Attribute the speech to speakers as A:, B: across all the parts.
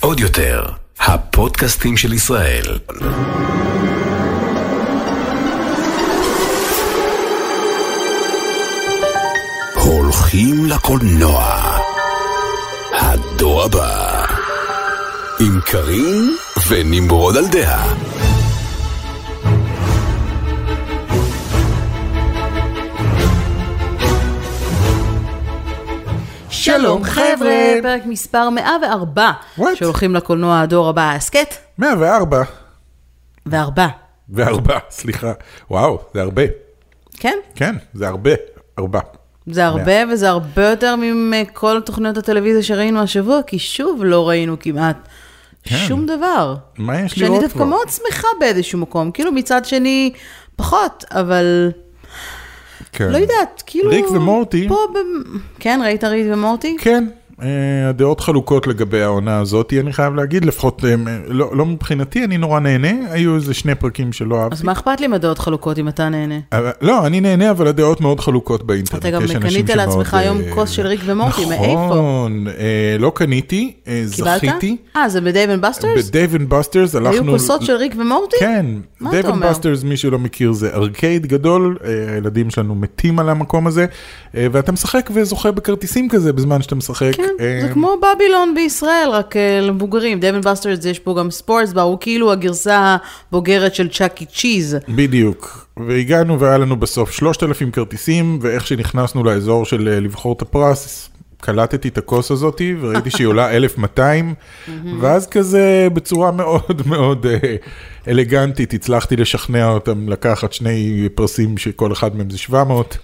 A: עוד יותר, הפודקאסטים של ישראל. הולכים לקולנוע. הדור הבא. עם קארין ונמרוד על דעה.
B: שלום חבר'ה,
C: חבר'ה.
B: פרק מספר 104,
C: What?
B: שהולכים לקולנוע הדור הבא, ההסכת,
C: 104
B: וארבע,
C: וארבע, סליחה. וואו, זה הרבה.
B: כן?
C: כן, זה הרבה. ארבע.
B: זה הרבה, וזה הרבה יותר מכל תוכניות הטלוויזיה שראינו השבוע, כי שוב לא ראינו כמעט שום דבר.
C: כן. מה יש
B: שאני
C: לראות
B: דווקא
C: כבר?
B: מאוד שמחה באיזשהו מקום, כאילו מצד שני פחות, אבל
C: כן.
B: לא יודעת, כאילו...
C: ריק ומורטי.
B: פה ב... כן, ראית ריק ומורטי?
C: כן, אה, הדעות חלוקות לגבי העונה הזאת, אני חייב להגיד, לפחות אה, מ- לא לא מבחינתי, אני נורא נהנה, היו איזה שני פרקים שלא אהבתי.
B: אז מה אכפת לי מהדעות חלוקות אם אתה נהנה?
C: אבל- לא, אני נהנה, אבל הדעות מאוד חלוקות באינטרנט.
B: אתה גם
C: יש אנשים
B: קנית
C: שמאוד,
B: לעצמך
C: אה,
B: היום כוס של ריק ומורטי, מאיפה?
C: נכון, אה, לא קניתי, אה,
B: קיבלת?
C: זכיתי.
B: אה, זה בדייב אנד בסטרס?
C: בדייב אנד בסטרס
B: היו
C: הלכנו...
B: כוסות של ריק ומורטי?
C: כן,
B: מה אתה
C: דייב אנד
B: אומר?
C: בסטרס, מי שלא מכיר, זה ארקייד גדול, אה, הילדים שלנו מתים על המקום הזה, אה, ואתה משחק וזוכה בכרטיסים כזה בזמן שאתה משחק.
B: כן, זה
C: אה,
B: כמו בבילון בישראל, רק אה, למבוגרים. דייבן בסטרס יש פה גם ספורטס בר, הוא כאילו הגרסה הבוגרת של E. צ'אקי צ'יז.
C: בדיוק, והגענו והיה לנו בסוף 3,000 כרטיסים, ואיך שנכנסנו לאזור של אה, לבחור את הפרס, קלטתי את הכוס הזאתי, וראיתי שהיא עולה 1,200, ואז כזה בצורה מאוד מאוד אה, אלגנטית הצלחתי לשכנע אותם לקחת שני פרסים שכל אחד מהם זה 700.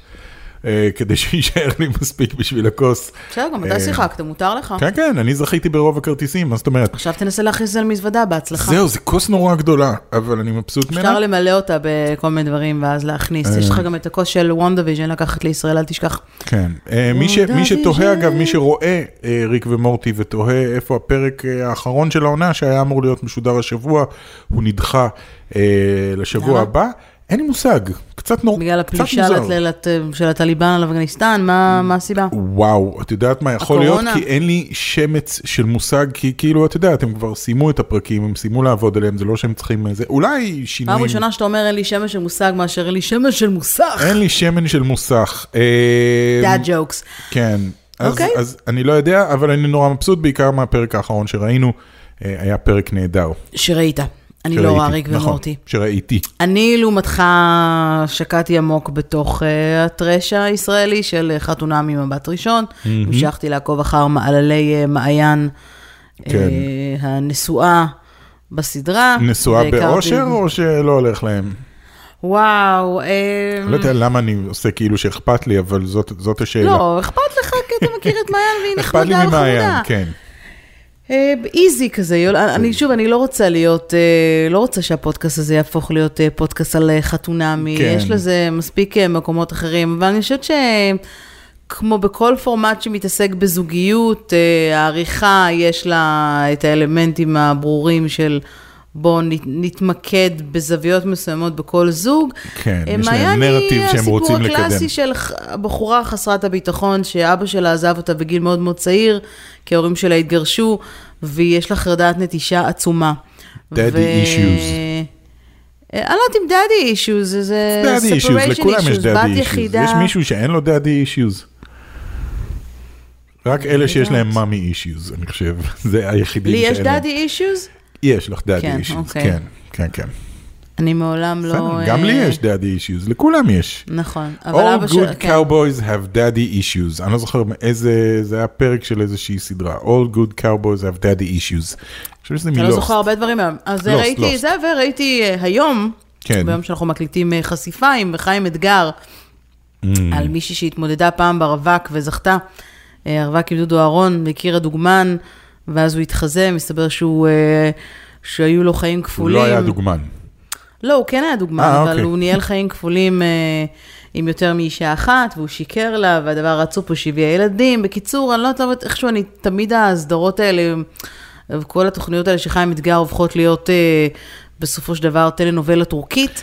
C: אה, כדי שיישאר לי מספיק בשביל הכוס.
B: בסדר, גם
C: אה,
B: אתה שיחקת, מותר לך.
C: כן, כן, אני זכיתי ברוב הכרטיסים, מה זאת אומרת?
B: עכשיו תנסה להכריז על מזוודה, בהצלחה.
C: זהו, זה כוס נורא גדולה, אבל אני מבסוט ממנה.
B: אפשר למלא אותה בכל מיני דברים ואז להכניס.
C: אה.
B: יש לך גם את הכוס של וונדוויז'ן לקחת לישראל, אל תשכח.
C: כן, אה, מי, ש, מי שתוהה
B: דודי
C: אגב, מי
B: ז'ל.
C: שרואה אה, ריק ומורטי ותוהה איפה הפרק אה, האחרון של העונה שהיה אמור להיות משודר השבוע, הוא נדחה אה, לשבוע
B: למה?
C: הבא, אין לי מושג, קצת נורא,
B: בגלל
C: קצת
B: הפלישה
C: מוזר. Mm,
B: לת- לת- של הטליבן על אפגניסטן, מה מה הסיבה?
C: וואו, את יודעת מה יכול להיות?
B: הקורונה.
C: כי אין לי שמץ של מושג, כי כאילו, את יודעת, הם כבר סיימו את הפרקים, הם סיימו לעבוד עליהם, זה לא שהם צריכים איזה, אולי שינויים.
B: פעם ראשונה שאתה אומר אין לי שמש של מושג מאשר אין לי שמש של מוסך.
C: אין לי שמן של מוסך. אה,
B: דאד ג'וקס.
C: כן. אז,
B: אוקיי.
C: אז אני לא יודע, אבל אני נורא מבסוט בעיקר מהפרק האחרון שראינו. אה, היה פרק
B: לא,
C: נהדר.
B: שראית. אני לא
C: שראיתי.
B: רואה ריק
C: נכון,
B: ומורטי.
C: שראיתי.
B: אני, לעומתך, שקעתי עמוק בתוך אה, הטרש הישראלי של אה, חתונה ממבט ראשון. המשכתי לעקוב אחר מעללי אה, מעיין אה,
C: כן.
B: הנשואה בסדרה.
C: נשואה
B: אה, והכרתי- Mm.
C: באושר או שלא הולך להם?
B: וואו. אה,
C: לא יודע למה אני עושה כאילו שאכפת לי, אבל זאת, זאת השאלה.
B: לא, אכפת לך, כי אתה מכיר את מעיין והיא
C: אכפת לי
B: נחמדה וחמודה.
C: ממעיין, כן.
B: אה, איזי כזה, יול- אני שוב, אני לא רוצה להיות, אה, לא רוצה שהפודקאסט הזה יהפוך להיות אה, פודקאסט על אה, חתונה, מ-
C: כן.
B: יש לזה מספיק אה, מקומות אחרים, אבל אני חושבת שכמו בכל פורמט שמתעסק בזוגיות, אה, העריכה יש לה את האלמנטים הברורים של בואו נ- נתמקד בזוויות מסוימות בכל זוג.
C: כן,
B: אה,
C: יש להם
B: מעיין היא
C: נרטיב שהם רוצים לקדם.
B: הסיפור הקלאסי של ח- הבחורה חסרת הביטחון, שאבא שלה עזב אותה בגיל מאוד מאוד צעיר, כי ההורים שלה התגרשו, ויש לה חרדת נטישה עצומה.
C: Daddy issues.
B: אה, אני לא יודעת אם דאדי אישוז, זה
C: דאדי אישיוז,
B: אה, separation
C: לכולם יש
B: issues, בת
C: דאדי אישיוז.
B: יחידה.
C: יש מישהו שאין לו דאדי אישיוז. רק אלה שיש
B: יודעת.
C: להם מאמי אישיוז, אני חושב. זה היחידים
B: לי יש
C: שאין להם.
B: דאדי אישוז?
C: יש לך דאדי
B: כן,
C: אישיוז,
B: אוקיי.
C: כן, כן, כן.
B: אני מעולם לא...
C: בסדר, גם לי
B: אה,
C: יש דאדי אישיוז, לכולם יש.
B: נכון, אבל
C: All
B: אבא שלה...
C: good cowboys have daddy issues. אני לא זוכר מאיזה, זה היה פרק של איזושהי סדרה. All good cowboys have daddy issues. אני חושב שזה
B: אתה לא
C: מלוסט.
B: זוכר הרבה דברים היום. אז
C: לוסט,
B: ראיתי
C: לוסט.
B: זה, וראיתי אה, היום,
C: כן.
B: ביום שאנחנו מקליטים אה, חשיפה עם חיים אתגר,
C: Mm,
B: על מישהי שהתמודדה פעם ברווק וזכתה. אה, הרווק עם דודו אהרון, והכירה דוגמן, ואז הוא התחזה, מסתבר שהוא... אה, שהיו לו חיים
C: הוא
B: כפולים.
C: לא היה דוגמן.
B: לא, הוא כן היה דוגמן,
C: אה,
B: אבל
C: אוקיי.
B: הוא ניהל חיים כפולים אה, עם יותר מאישה אחת, והוא שיקר לה, והדבר הרצוף הוא שהביאה ילדים. בקיצור, אני לא יודעת למה איכשהו אני, תמיד הסדרות האלה, וכל התוכניות האלה שחיים אתגר הופכות להיות אה, בסופו של דבר טלנובלה טורקית.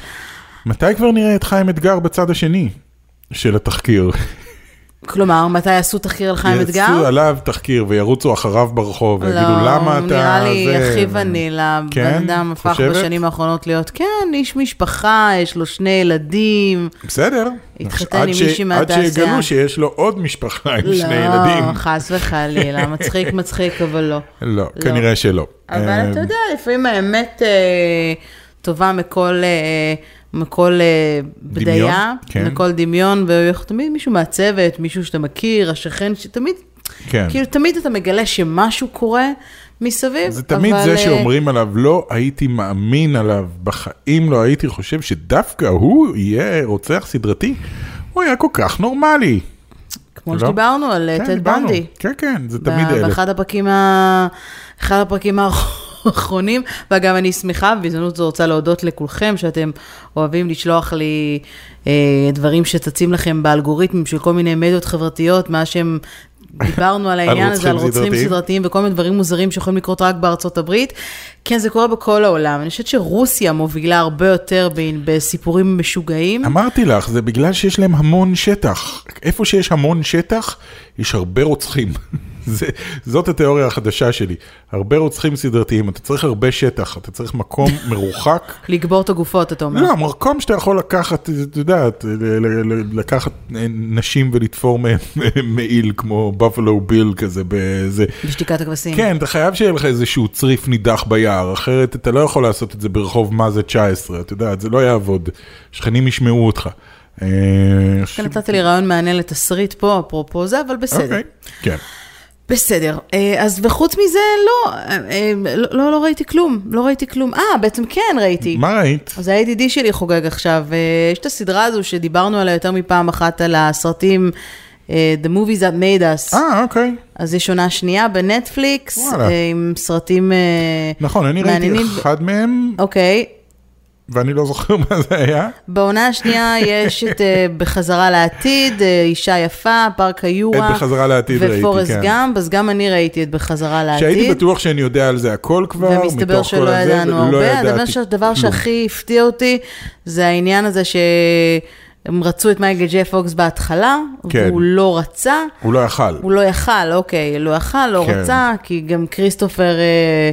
C: מתי כבר נראה את חיים אתגר בצד השני של התחקיר?
B: כלומר, מתי יעשו תחקיר על חיים אתגר?
C: יעשו עליו תחקיר וירוצו אחריו ברחוב ויגידו למה אתה...
B: לא, נראה לי
C: זה?"
B: הכי ונילה.
C: כן?
B: בן אדם הפך
C: חושבת?
B: בשנים האחרונות להיות, כן, איש משפחה, יש לו שני ילדים.
C: בסדר.
B: התחתן
C: עד
B: עם
C: ש-
B: מישהי מהתעשייה.
C: עד שיגלו שיש לו עוד משפחה עם שני
B: לא,
C: ילדים.
B: חס וחלילה, מצחיק מצחיק, אבל לא.
C: לא, כנראה שלא.
B: אבל אתה
C: אה,
B: יודע, לפעמים האמת אה, טובה מכל... אה, מכל אה, בדיה,
C: דמיון, כן.
B: מכל דמיון, ותמיד מישהו מהצוות, מישהו שאתה מכיר, השכן, שתמיד,
C: כן.
B: כאילו תמיד אתה מגלה שמשהו קורה מסביב.
C: זה תמיד
B: אבל,
C: זה
B: אה,
C: שאומרים עליו, לא הייתי מאמין עליו, בחיים לא הייתי חושב שדווקא הוא יהיה רוצח סדרתי, הוא היה כל כך נורמלי.
B: אה, כמו
C: לא?
B: שדיברנו על אה,
C: כן,
B: טד
C: דיברנו.
B: בנדי.
C: כן, כן, זה
B: ב-
C: תמיד אלה.
B: באחד הפרקים, ה... אחד הפרקים האחרונים, ואגב, אני שמחה, בהזדמנות זו רוצה להודות לכולכם שאתם אוהבים לשלוח לי אה, דברים שצצים לכם באלגוריתמים של כל מיני מדיות חברתיות, מה שהם... דיברנו על העניין הזה, על
C: רוצחים
B: רוצחים
C: סדרתיים.
B: סדרתיים וכל מיני דברים מוזרים שיכולים לקרות רק בארצות הברית. כן, זה קורה בכל העולם. אני חושבת שרוסיה מובילה הרבה יותר ב- בסיפורים משוגעים.
C: אמרתי לך, זה בגלל שיש להם המון שטח. איפה שיש המון שטח, יש הרבה רוצחים. זה, זאת התיאוריה החדשה שלי. הרבה רוצחים סדרתיים, אתה צריך הרבה שטח, אתה צריך מקום מרוחק.
B: לקבור את הגופות, אתה אומר.
C: לא, מקום שאתה יכול לקחת, את יודעת, ל- ל- ל- לקחת נשים ולתפור מהם מעיל כמו בפלו ביל כזה בזה.
B: בשתיקת הכבשים.
C: כן, אתה חייב שיהיה לך איזשהו צריף נידח ביער, אחרת אתה לא יכול לעשות את זה ברחוב מה זה 19, את יודעת, זה לא יעבוד. שכנים ישמעו אותך. אה, ש-
B: כן, נתת לי רעיון מעניין לתסריט פה, אפרופו זה, אבל בסדר.
C: אוקיי, כן.
B: בסדר. אה, אז וחוץ מזה, לא, אה, אה, לא- לא לא ראיתי כלום. לא ראיתי כלום. אה, בעצם כן ראיתי.
C: מה ראית?
B: אז ה-ADD שלי חוגג עכשיו. אה, יש את הסדרה הזו שדיברנו עליה יותר מפעם אחת, על הסרטים אה, The Movies That Made Us.
C: אה, אוקיי.
B: אז יש עונה שנייה בנטפליקס,
C: וואלה.
B: אה, עם סרטים אה,
C: נכון, אני ראיתי
B: מעניינים.
C: אחד מהם,
B: אוקיי.
C: ואני לא זוכר מה זה היה.
B: בעונה השנייה יש את אה, בחזרה לעתיד, אה, אישה יפה, פארק היורה.
C: את בחזרה לעתיד ראיתי,
B: ופורסט
C: כן.
B: גאמפ, אז גם אני ראיתי את בחזרה לעתיד.
C: שהייתי בטוח שאני יודע על זה הכל כבר,
B: ומסתבר
C: מתוך
B: שלא
C: כל הזה,
B: ידענו
C: ולא
B: הרבה.
C: ידעתי
B: הדבר, שהדבר
C: כלום.
B: שהכי הפתיע אותי זה העניין הזה שהם רצו את מייקל ג'י פוקס בהתחלה,
C: כן.
B: והוא לא רצה.
C: הוא לא יכל.
B: הוא לא יכל, אוקיי, לא יכל, לא
C: כן.
B: רצה, כי גם כריסטופר... אה,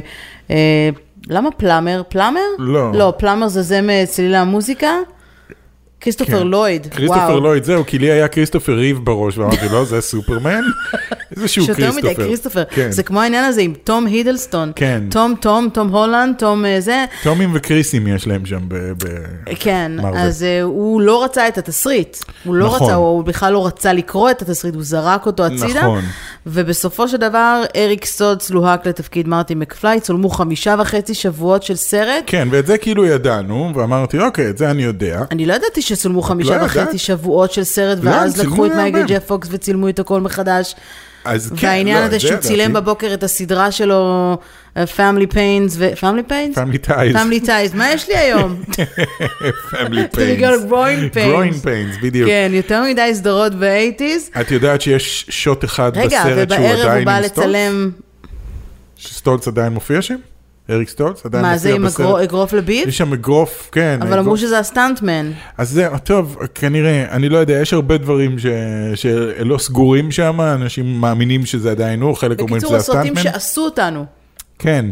B: אה, למה פלאמר? פלאמר?
C: לא.
B: לא, פלאמר זה זה מצלילי המוזיקה? כריסטופר
C: כן.
B: לויד,
C: כריסטופר
B: וואו.
C: לויד, זהו, כי לי היה כריסטופר ריב בראש, ואמרתי, לא, זה סופרמן? איזשהו
B: שיותר
C: כריסטופר.
B: מדי כריסטופר.
C: כן.
B: זה כמו העניין הזה עם תום הידלסטון.
C: כן.
B: תום, תום, תום הולנד, תום אה, זה.
C: תומים וקריסים יש להם שם ב... ב-
B: כן,
C: מרוויל.
B: אז אה, הוא לא רצה את התסריט. הוא לא
C: נכון.
B: רצה, הוא הוא בכלל לא רצה לקרוא את התסריט, הוא זרק אותו הצידה.
C: נכון.
B: ובסופו של דבר, אריק סודס לוהק לתפקיד מרטין מקפליי, צולמו חמישה וחצי שבועות של סרט.
C: כן, ואת זה כאילו ידענו, ואמרתי, אוקיי, את זה אני יודע.
B: אני לא ידעתי שצולמו חמישה
C: לא
B: וחצי
C: ידעת?
B: שבועות של סרט,
C: לא,
B: ואז
C: צילמו
B: לקחו את
C: הרבה.
B: מייקל ג'י פוקס וצילמו את הכל מחדש.
C: אז כן,
B: והעניין
C: לא,
B: הזה
C: את זה
B: שהוא
C: ידעתי.
B: צילם בבוקר את הסדרה שלו, אה, פאמלי פיינס, פאמלי פיינס?
C: Family Ties.
B: פאמלי טייז, מה יש לי היום?
C: Family
B: בגלל גרוינג
C: Pains. גרוין
B: פיינס.
C: פיינס, בדיוק.
B: כן, יותר מדי סדרות באייטיז.
C: את יודעת שיש שוט אחד בסרט שהוא
B: רגע,
C: עדיין עם סטולץ?
B: ובערב הוא בא לצלם,
C: שסטולץ עדיין מופיע שם? אריק סטולץ עדיין
B: מה זה
C: מופיע
B: עם
C: בסרט?
B: אגרו- אגרוף לביב?
C: יש שם אגרוף, כן.
B: אבל
C: אגרוף.
B: אמרו שזה הסטנטמן.
C: אז זהו, טוב, כנראה, אני לא יודע, יש הרבה דברים ש... שלא סגורים שם, אנשים מאמינים שזה עדיין הוא, חלק אומרים
B: בקיצור,
C: שזה
B: הסרטים
C: הסטנטמן.
B: שעשו אותנו.
C: כן.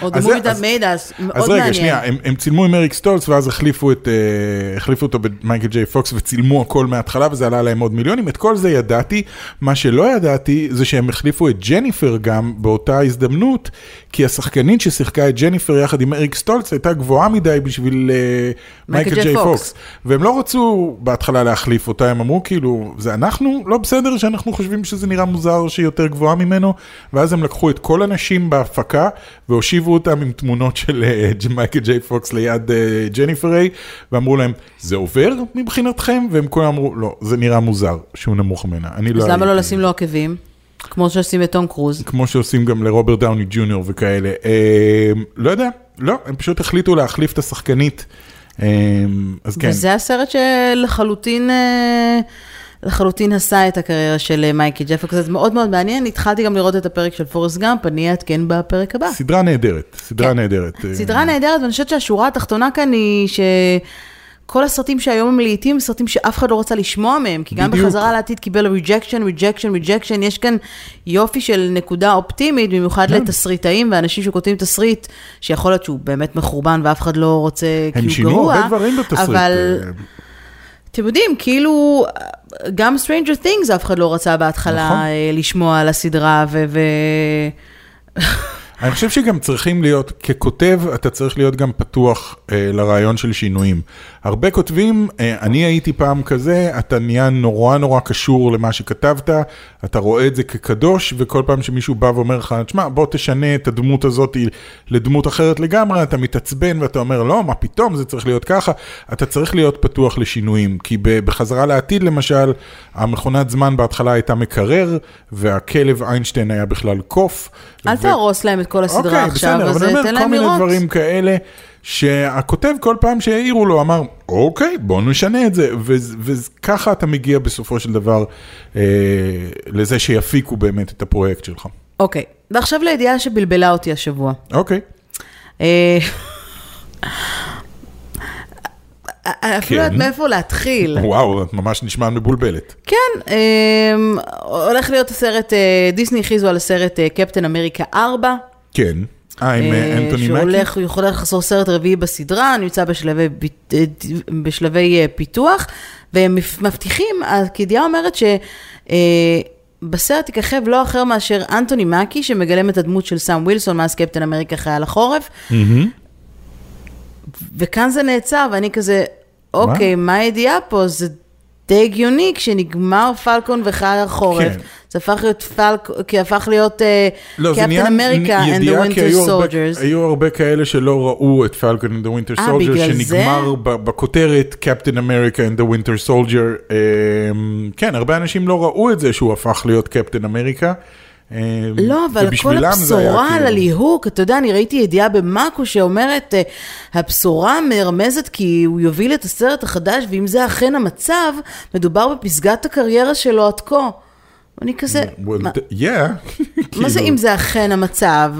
B: עוד
C: אז זה-
B: מובידה
C: אז-
B: מיידס, מאוד
C: אז
B: מעניין.
C: רגע, שנייה, אה, הם, הם צילמו עם אריק סטולץ ואז החליפו, את, אה, החליפו אותו במייקל ג'יי פוקס וצילמו הכל מההתחלה וזה עלה להם עוד מיליונים, את כל זה ידעתי, מה שלא ידעתי זה שהם החליפו את ג'ניפר גם באותה הזדמנות, כי השחקנית ששיחקה את ג'ניפר יחד עם אריק סטולץ הייתה גבוהה מדי בשביל אה,
B: מייקל
C: מייקל
B: ג'יי
C: ג'יי
B: פוקס.
C: פוקס. והם לא רצו בהתחלה להחליף אותה, הם אמרו כאילו, זה אנחנו, לא בסדר שאנחנו חושבים שזה נראה מוזר שהיא יותר גבוהה ממנו, ואז הם לקחו את כל הנשים בהפקה, והושיבו אותם עם תמונות של אה, ג'- מייקל ג'יי פוקס ליד אה, ג'ניפר איי, ואמרו להם, זה עובר מבחינתכם? והם כולם אמרו, לא, זה נראה מוזר שהוא נמוך ממנה, אני לא...
B: אז למה לא
C: הייתי."
B: לשים לו עקבים? כמו שעושים את תום קרוז.
C: כמו שעושים גם לרוברט דאוני ג'וניור וכאלה. אה, לא יודע, לא, הם פשוט החליטו להחליף את השחקנית. אה, אז כן.
B: וזה הסרט שלחלוטין... אה, לחלוטין עשה את הקריירה של אה, מייקי ג'פקס, זה מאוד מאוד מעניין, התחלתי גם לראות את הפרק של פורסט גאמפ, אני אעדכן בפרק הבא.
C: סדרה נהדרת, סדרה
B: כן.
C: נהדרת. אה,
B: סדרה נהדרת, ואני חושבת שהשורה התחתונה כאן היא כל הסרטים שהיום הם לעיתים, סרטים שאף אחד לא רצה לשמוע מהם, כי גם
C: בדיוק.
B: בחזרה לעתיד קיבל ריג'קשן, ריג'קשן, ריג'קשן, יש כאן יופי של נקודה אופטימית, במיוחד
C: כן.
B: לתסריטאים ואנשים שכותבים תסריט, שיכול להיות שהוא באמת מחורבן ואף אחד לא רוצה, כי
C: הם
B: הוא
C: שינו
B: גרוע,
C: הרבה דברים בתסריט.
B: אבל
C: אה,
B: אתם יודעים, כאילו, גם Stranger Things אף אחד לא רצה בהתחלה
C: נכון.
B: אה, לשמוע על הסדרה, ו... ו...
C: אני חושב שגם צריכים להיות, ככותב, אתה צריך להיות גם פתוח אה, לרעיון של שינויים. הרבה כותבים, אה, אני הייתי פעם כזה, אתה נהיה נורא נורא קשור למה שכתבת, אתה רואה את זה כקדוש, וכל פעם שמישהו בא ואומר לך, תשמע, בוא תשנה את הדמות הזאת לדמות אחרת לגמרי, אתה מתעצבן ואתה אומר, לא, מה פתאום, זה צריך להיות ככה. אתה צריך להיות פתוח לשינויים, כי ב- בחזרה לעתיד, למשל, המכונת זמן בהתחלה הייתה מקרר, והכלב איינשטיין היה בכלל קוף.
B: אל
C: ו-
B: תהרוס להם את כל הסדרה עכשיו,
C: אוקיי, בסדר,
B: אז
C: אבל אני
B: אה,
C: אומר,
B: תן
C: כל
B: להם
C: מיני
B: לראות.
C: דברים כאלה, שהכותב כל פעם שהעירו לו אמר, אוקיי, בוא נשנה את זה, וז- וככה אתה מגיע בסופו של דבר אה, לזה שיפיקו באמת את הפרויקט שלך.
B: אוקיי, ועכשיו לידיעה שבלבלה אותי השבוע.
C: אוקיי,
B: אה, אפילו לא יודעת מאיפה להתחיל.
C: וואו, את ממש נשמעת מבולבלת.
B: כן, אמ, הולך להיות הסרט, אה, דיסני הכריזו על הסרט אה, קפטן אמריקה 4.
C: כן. אה, עם אה,
B: אה,
C: אנטוני מקי?
B: שהולך, הוא יכול לחזור סרט רביעי בסדרה, נמצא בשלבי, ביט- אה, בשלבי אה, פיתוח, והם מפ- מבטיחים, הכידיעה אומרת שבסרט יככב לא אחר מאשר אנטוני מקי, שמגלם את הדמות של סאם ווילסון מאז קפטן אמריקה חייל החורף,
C: מהמם.
B: וכאן זה נעצר, ואני כזה, אוקיי, מה הידיעה פה? זה די הגיוני, כשנגמר פלקון וחייל החורף,
C: כן.
B: זה הפך להיות פלקון, כי הפך להיות אה,
C: לא, זה
B: קפטן
C: נהיה
B: אמריקה and the
C: ידיעה, כי
B: winter
C: היו הרבה-
B: soldiers.
C: היו הרבה כאלה שלא ראו את פלקון and the winter
B: אה,
C: soldier,
B: בגלל זה?
C: שנגמר ב- בכותרת קפטן אמריקה and the winter soldier. אמ, כן, הרבה אנשים לא ראו את זה שהוא הפך להיות קפטן אמריקה. אמ,
B: לא, אבל כל
C: ובשבילם זה היה
B: הבשורה על
C: כאילו-
B: הליהוק, אתה יודע, אני ראיתי ידיעה במאקו שאומרת, אה, הבשורה מרמזת כי הוא יוביל את הסרט החדש, ואם זה אכן המצב, מדובר בפסגת הקריירה שלו עד כה. אני כזה,
C: Mm, Well,
B: מה-
C: th- yeah.
B: מה זה
C: כאילו,
B: אם זה אכן המצב?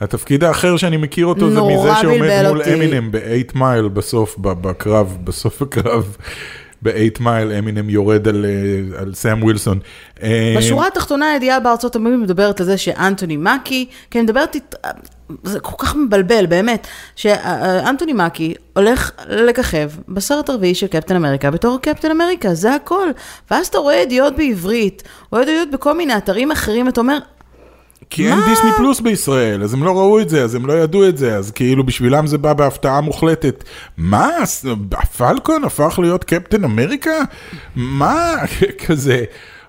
C: התפקיד האחר שאני מכיר אותו זה
B: נורא
C: מזה שעומד
B: בלבל
C: מול
B: אותי.
C: אמינם ב-8 מייל בסוף, ב- בקרב, בסוף הקרב. ב-8 מייל אמינם יורד על, אה, על סאם ווילסון. אה,
B: בשורה התחתונה, הידיעה בארצות הברית מדברת על זה שאנטוני מקי, כי אני מדברת, אית- זה כל כך מבלבל, באמת, שאנטוני מקי הולך לככב בסרט הרביעי של קפטן אמריקה בתור קפטן אמריקה, זה הכל. ואז אתה רואה ידיעות בעברית, רואה ידיעות בכל מיני אתרים אחרים, אתה אומר,
C: כי אין
B: מה?
C: דיסני פלוס בישראל, אז הם לא ראו את זה, אז הם לא ידעו את זה, אז כאילו בשבילם זה בא בהפתעה מוחלטת. מה, ס- הפלקון הפך להיות קפטן אמריקה? מה, כזה,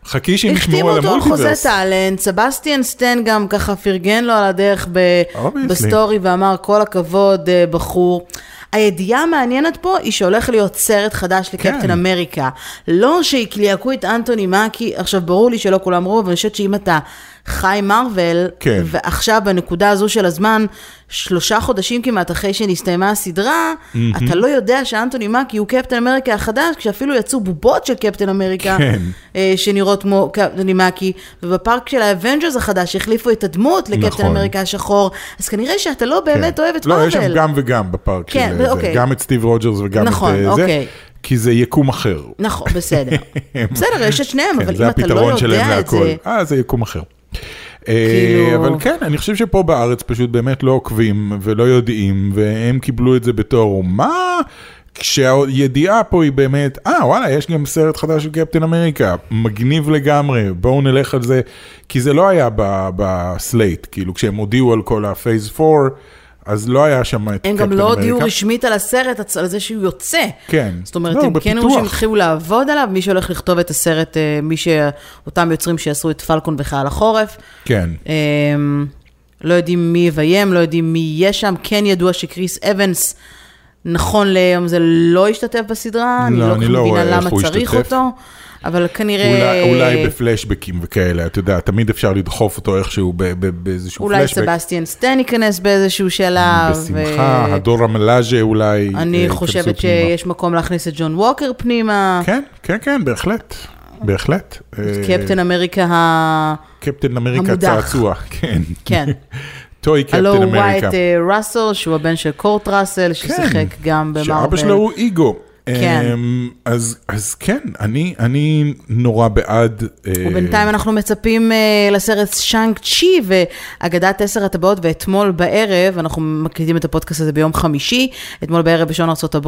C: חכי שהם
B: החתימו
C: ישמעו על
B: אותו על חוזה
C: המולטיברס. כן.
B: טאלנט, סבסטיאן סטן גם ככה פרגן לו על הדרך ב-
C: Obviously.
B: בסטורי ואמר כל הכבוד אה, בחור. הידיעה המעניינת פה היא שהולך להיות סרט חדש לקפטן
C: כן.
B: אמריקה. לא שיקליעקו את אנטוני מקי, עכשיו ברור לי שלא כולם ראו, אבל אני חושבת שאם אתה חי מרוויל,
C: כן.
B: ועכשיו בנקודה הזו של הזמן, שלושה חודשים כמעט אחרי שנסתיימה הסדרה, אתה לא יודע שאנטוני מקי הוא קפטן אמריקה החדש, כשאפילו יצאו בובות של קפטן אמריקה.
C: כן.
B: אה, שנראות כמו קפטן מקי, ובפארק של האבנג'רס החדש החליפו את הדמות לקפטן
C: נכון.
B: אמריקה השחור, אז כנראה שאתה לא באמת
C: כן.
B: אוהב את
C: לא,
B: מארוול.
C: יש שם גם וגם בפארק
B: כן,
C: של זה,
B: אוקיי.
C: גם את סטיב רוג'רס וגם
B: נכון,
C: את אה, זה,
B: אוקיי.
C: כי זה יקום אחר.
B: נכון, בסדר. בסדר, יש את שניהם,
C: כן,
B: אבל
C: זה
B: אם אתה לא
C: הפתרון שלהם
B: יודע את
C: להכל.
B: זה...
C: אה, זה יקום אחר. אה,
B: כאילו-
C: אבל כן, אני חושב שפה בארץ פשוט באמת לא עוקבים ולא יודעים, והם קיבלו את זה בתור מה? כשהידיעה פה היא באמת, אה וואלה, יש גם סרט חדש של קפטן אמריקה, מגניב לגמרי, בואו נלך על זה, כי זה לא היה ב- בסלייט, כאילו כשהם הודיעו על כל הפייס 4, אז לא היה שם את קפטן
B: הם
C: אמריקה.
B: גם לא הודיעו רשמית על הסרט, על זה שהוא יוצא.
C: כן.
B: זאת אומרת,
C: לא,
B: הם כן אמרו שהם
C: בפיתוח.
B: התחילו לעבוד עליו, מי שהולך לכתוב את הסרט, אה, מי ש... אותם יוצרים שעשו את פלקון וחייל החורף.
C: כן.
B: אמ, לא יודעים מי יביים, לא יודעים מי יהיה שם. כן ידוע שכריס אבנס, נכון ליום זה לא השתתף בסדרה, אני
C: לא,
B: לא כל
C: אני
B: כך
C: לא
B: מבינה
C: רואה איך
B: למה
C: הוא
B: צריך
C: השתתף.
B: אותו, אבל
C: אולי,
B: כנראה...
C: אולי בפלשבקים וכאלה, אתה יודע, תמיד אפשר לדחוף אותו איכשהו ב- ב- באיזשהו
B: אולי
C: פלשבק.
B: סבסטיאן סטן ייכנס באיזשהו שלב.
C: בשמחה,
B: אה,
C: הדור המלאז'ה אולי.
B: אני
C: אה,
B: חושבת
C: ייכנסו פנימה.
B: שיש מקום להכניס את ג'ון ווקר פנימה.
C: כן, כן, כן, בהחלט. בהחלט. אה,
B: קפטן אמריקה ה...
C: קפטן אמריקה
B: המודח.
C: צעצוע, כן.
B: כן.
C: טוי קפטן
B: הלו אה, הוא
C: אמריקה. כן.
B: ווייט אה, ראסל, שהוא הבן של קורט ראסל, ששיחק גם במרוויל.
C: שאבא שלו הוא איגו.
B: כן.
C: אמ, אז, אז כן, אני, אני נורא בעד... אה,
B: ובינתיים אנחנו מצפים אה, לסרט שאנג צ'י ואגדת עשר הטבעות, ואתמול בערב, אנחנו מקליטים את הפודקאסט הזה ביום חמישי, אתמול בערב בשעון ארה"ב,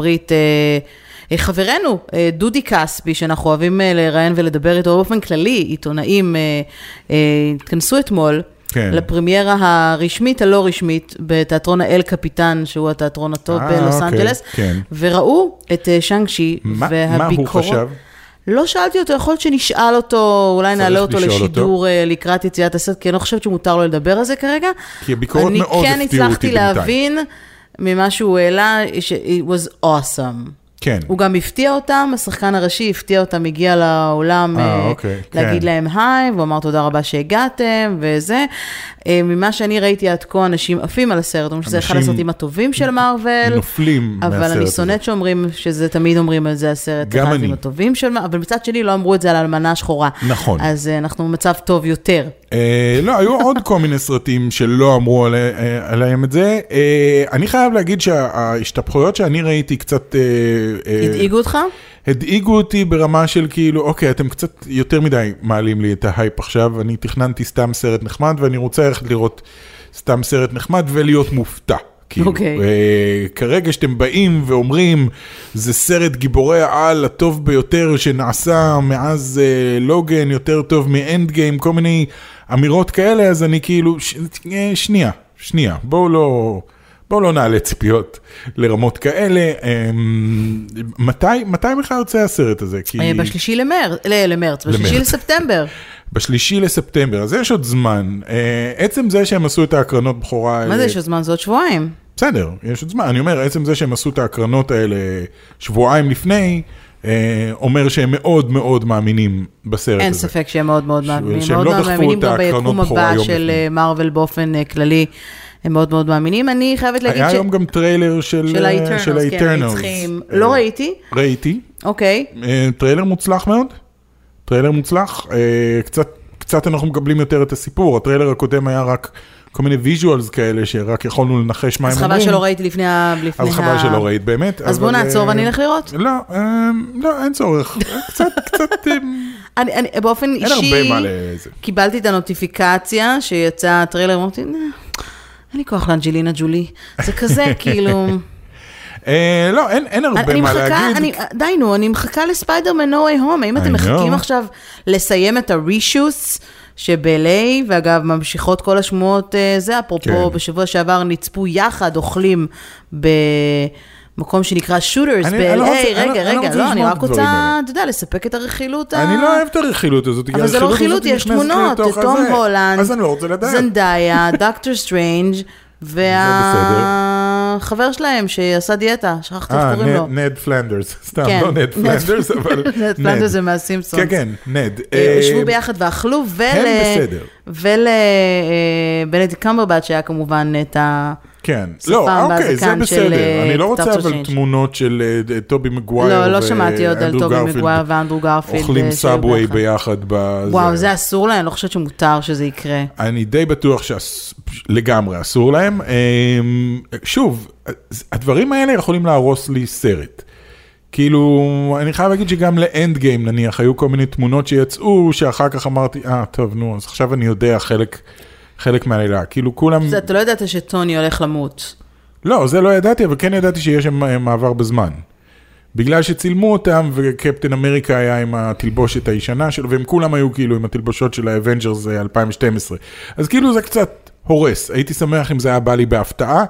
B: חברנו אה, דודי כספי, שאנחנו אוהבים אה, לראיין ולדבר איתו, באופן כללי, עיתונאים, אה, אה, התכנסו אתמול.
C: כן.
B: לפרמיירה הרשמית הלא רשמית בתיאטרון האל קפיטן, שהוא התיאטרון הטוב
C: אה,
B: בלוס
C: אוקיי,
B: אנג'לס,
C: כן.
B: וראו את אה, שאנג צ'י
C: מה- מה הוא
B: והביקורות.
C: חשב?
B: לא שאלתי אותו, יכול להיות שנשאל אותו, אולי
C: צריך
B: נעלה אותו
C: לשאול
B: לשידור אותו. לקראת יציאת הסרט, כי אני לא חושבת שמותר לו לדבר על זה כרגע.
C: כי הביקורות מאוד
B: אני
C: הפתיעו
B: כן הצלחתי
C: אותי בינתיים.
B: להבין ממה שהוא העלה, ש-it was awesome.
C: כן.
B: הוא גם הפתיע אותם, השחקן הראשי הפתיע אותם, הגיע לאולם
C: אה,
B: אה,
C: אוקיי,
B: להגיד
C: כן.
B: להם היי, והוא אמר תודה רבה שהגעתם וזה. אה, ממה שאני ראיתי עד כה, אנשים עפים על הסרט, אומרים שזה אחד
C: אנשים
B: הסרטים הטובים של מארוול.
C: נופלים
B: אבל
C: מהסרט
B: אני
C: הזה.
B: שונאת שאומרים שזה, תמיד אומרים על זה הסרט.
C: גם
B: אחד
C: אני.
B: עם הטובים של מה, אבל מצד שני לא אמרו את זה על האלמנה השחורה.
C: נכון.
B: אז אה, אנחנו במצב טוב יותר.
C: אה, לא, היו עוד כל מיני סרטים שלא אמרו עלי- אה, עליהם את זה. אה, אני חייב להגיד שההשתפכויות שאני ראיתי קצת... אה, אה,
B: הדאיגו אותך?
C: הדאיגו אותי ברמה של כאילו, אוקיי, אתם קצת יותר מדי מעלים לי את ההייפ עכשיו, אני תכננתי סתם סרט נחמד ואני רוצה ללכת לראות סתם סרט נחמד ולהיות מופתע. כאילו,
B: אוקיי.
C: אה, כרגע שאתם באים ואומרים, זה סרט גיבורי העל הטוב ביותר שנעשה מאז אה, לוגן, יותר טוב מאנד גיים, כל מיני אמירות כאלה, אז אני כאילו, ש... אה, שנייה, שנייה, בואו לא... בואו לא נעלה ציפיות לרמות כאלה. אה, מתי, מתי בכלל יוצא הסרט הזה? כי...
B: אה, בשלישי למרץ, ל- למרץ, בשלישי
C: למרץ.
B: לספטמבר.
C: בשלישי לספטמבר, אז יש עוד זמן. אה, עצם זה שהם עשו את ההקרנות בכורה האלה...
B: מה זה, יש עוד זמן? זה עוד שבועיים.
C: בסדר, יש עוד זמן. אני אומר, עצם זה שהם עשו את ההקרנות האלה שבועיים לפני, אה, אומר שהם מאוד מאוד מאמינים בסרט
B: אין
C: הזה.
B: ספק שהם מאוד מאוד מאמינים.
C: אה, שהם
B: מאוד
C: לא
B: מאוד
C: דחפו
B: מאמינים
C: את
B: גם
C: הקרנות
B: ביקום
C: בכורה
B: הבא
C: יום
B: של
C: לפני.
B: אה, מארוול באופן אה, כללי. הם מאוד מאוד מאמינים. אני חייבת להגיד
C: היה
B: ש...
C: היום גם טריילר של
B: של
C: אה,
B: ה-Eternals,
C: של
B: כן,
C: ה-Eternals.
B: הנצחיים.
C: אה,
B: לא ראיתי.
C: ראיתי.
B: אוקיי.
C: אה, טריילר מוצלח מאוד, טריילר מוצלח, אה, קצת, קצת אנחנו מקבלים יותר את הסיפור, הטריילר הקודם היה רק כל מיני ויז'ואלס כאלה שרק יכולנו לנחש מה הם
B: אז
C: אומרים.
B: חבל שלא ראיתי לפני ה... לפני
C: אז חבל
B: ה-
C: שלא ראית באמת.
B: אז בוא
C: אבל,
B: נעצור
C: אה,
B: ואני אלך לראות.
C: לא, אה, לא, אין צורך, קצת, קצת, אה,
B: אני, אני, באופן
C: אין
B: אישי,
C: הרבה מה לזה.
B: קיבלתי את הנוטיפיקציה שיצא הטריילר, אמרתי, "נה, אין לי כוח לאנג'לינה ג'ולי. זה כזה, כאילו...
C: אה, לא, אין אין הרבה
B: אני
C: מה
B: מחכה,
C: להגיד.
B: אני, די נו, אני מחכה לספיידרמן No way home. האם
C: I
B: אתם מחכים
C: know.
B: עכשיו לסיים את הרישוס שב-LA, ואגב, ממשיכות כל השמועות, אה, זה אפרופו,
C: כן.
B: בשבוע שעבר נצפו יחד אוכלים ב... מקום שנקרא שוטרס
C: אני- אני לא
B: ב-LA,
C: רוצה- אני לא-
B: רגע,
C: אני לא
B: רגע,
C: רוצה
B: לא, אני
C: לשמוע
B: רק
C: את הדברים
B: רוצה,
C: האלה.
B: אתה יודע, לספק את הרכילות ה...
C: אני לא אוהב את הרכילות הזאת. כי
B: אבל זה לא
C: הרכילות
B: רכילות, יש
C: הזאת נכנסת לי
B: תמונות,
C: לתוך
B: תום
C: הזה.
B: הולנד,
C: אז אני לא רוצה לדעת.
B: זנדאיה, דוקטור סטרנג' והחבר שלהם שעשה דיאטה, שכחתי איך
C: אה,
B: קוראים לו.
C: נד- נד פלנדרס, סתם,
B: כן.
C: לא נד
B: נד-
C: פלנדרס, אבל
B: נד פלנדרס זה מהסימפסונס.
C: כן, כן, נד.
B: אה,
C: אה,
B: ישבו ביחד ואכלו, ול... אה,
C: בסדר.
B: ולבנט קמברבט שהיה כמובן את ה...
C: כן,
B: שפם
C: לא, אוקיי, זה
B: והזקן של,
C: בסדר.
B: אה,
C: אני לא רוצה
B: דוקטור
C: אבל
B: צ'יינג'.
C: תמונות של אה, טובי מגווייר
B: לא, לא שמעתי עוד על
C: ואנדרו
B: טובי
C: גרפילד
B: מגווייר ואנדרו גרפילד. אה,
C: אוכלים
B: שהיו
C: סאבווי
B: ביחד.
C: ביחד. בזה.
B: וואו, זה אסור להם, אני לא חושבת שמותר שזה יקרה.
C: אני די בטוח שלגמרי אסור להם. אמ, שוב, הדברים האלה יכולים להרוס לי סרט. כאילו, אני חייב להגיד שגם לאנד גיים נניח, היו כל מיני תמונות שיצאו, שאחר כך אמרתי, אה, טוב, נו, אז עכשיו אני יודע חלק, חלק מהעלילה. כאילו, כולם...
B: זה, אתה לא ידעת שטוני הולך למות.
C: לא, זה לא ידעתי, אבל כן ידעתי שיש שם אה, מעבר בזמן. בגלל שצילמו אותם, וקפטן אמריקה היה עם התלבושת הישנה שלו, והם כולם היו כאילו עם התלבושות של האבנג'רס אה, 2012. אז כאילו זה קצת הורס, הייתי שמח אם זה היה בא לי בהפתעה.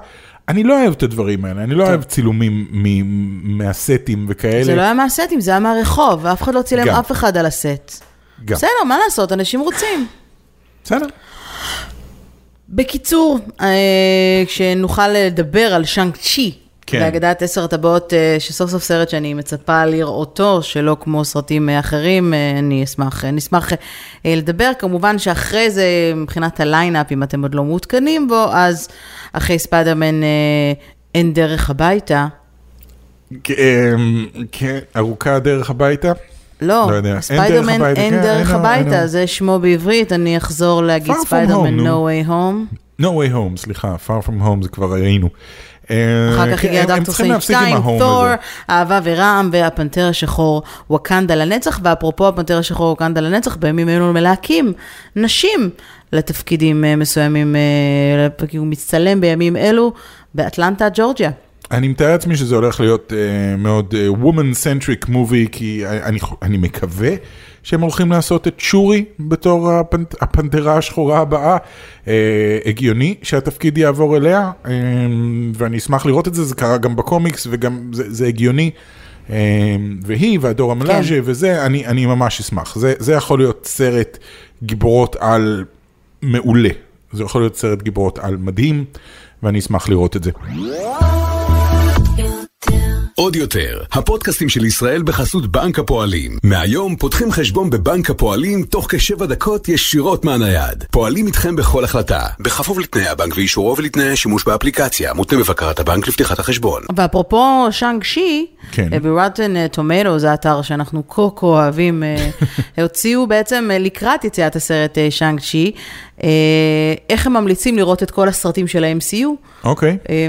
C: אני לא אוהב את הדברים האלה, אני לא אוהב צילומים מ- מהסטים וכאלה.
B: כן. זה לא היה מהסטים, זה היה מהרחוב, ואף אחד לא צילם
C: גם.
B: אף אחד על הסט.
C: גם.
B: בסדר, מה לעשות, אנשים רוצים.
C: בסדר.
B: בקיצור, אה, כשנוכל לדבר על שאנג צ'י,
C: כן.
B: בהגדת עשר הטבעות, אה, שסוף סוף סרט שאני מצפה לראותו, שלא כמו סרטים אה, אחרים, אה, אני אשמח, אה, נשמח אה, לדבר. כמובן שאחרי זה, מבחינת הליינאפ, אם אתם עוד לא מעודכנים בו, אז אחרי ספיידרמן אה, אין דרך הביתה.
C: כ- אמ, כן, ארוכה הדרך הביתה.
B: לא,
C: לא יודע, אין דרך
B: ספיידרמן
C: הביתה,
B: אין
C: כן,
B: דרך
C: אין ה- אין
B: הביתה,
C: ה-
B: זה שמו בעברית, אני אחזור להגיד
C: Far From
B: ספיידרמן
C: Home,
B: No
C: נו.
B: Way Home.
C: No way home, סליחה, far from home זה כבר ראינו. Um,
B: אחר כך
C: כן,
B: הגיע
C: הם- הם
B: דוקטור
C: צריכים
B: סייג'
C: להפסיק עם
B: 2,
C: ההום
B: תור,
C: הזה.
B: אהבה ורעם והפנתר השחור, ווקנדה לנצח, ואפרופו הפנתר השחור, ווקנדה לנצח, בימים אלו מלהקים נשים לתפקידים אה, מסוימים, אה, כי הוא מצטלם בימים אלו באטלנטה, ג'ורג'יה.
C: אני מתאר לעצמי שזה הולך להיות אה, מאוד אה, woman-centric movie, כי אני, אני מקווה שהם הולכים לעשות את שורי בתור הפנ- הפנתרה השחורה הבאה. אה, הגיוני שהתפקיד יעבור אליה, אה, ואני אשמח לראות את זה, זה קרה גם בקומיקס וגם זה, זה הגיוני. אה, והיא והדור המלאז'ה כן. וזה, אני, אני ממש אשמח. זה, זה יכול להיות סרט גיבורות על מעולה. זה יכול להיות סרט גיבורות על מדהים, ואני אשמח לראות את זה.
A: עוד יותר, הפודקאסטים של ישראל בחסות בנק הפועלים. מהיום פותחים חשבון בבנק הפועלים תוך כשבע דקות ישירות מהנייד. פועלים איתכם בכל החלטה, בכפוף לתנאי הבנק ואישורו ולתנאי השימוש באפליקציה, מותנה בבקרת הבנק לפתיחת החשבון.
B: ואפרופו שאנג שי,
C: כן.
B: ברוטן טומטו, uh, זה האתר שאנחנו כה כה אוהבים, אה, הוציאו בעצם אה, לקראת יציאת הסרט אה, שאנג צ'י, אה, איך הם ממליצים לראות את כל הסרטים של ה-MCU,
C: אוקיי.
B: אה,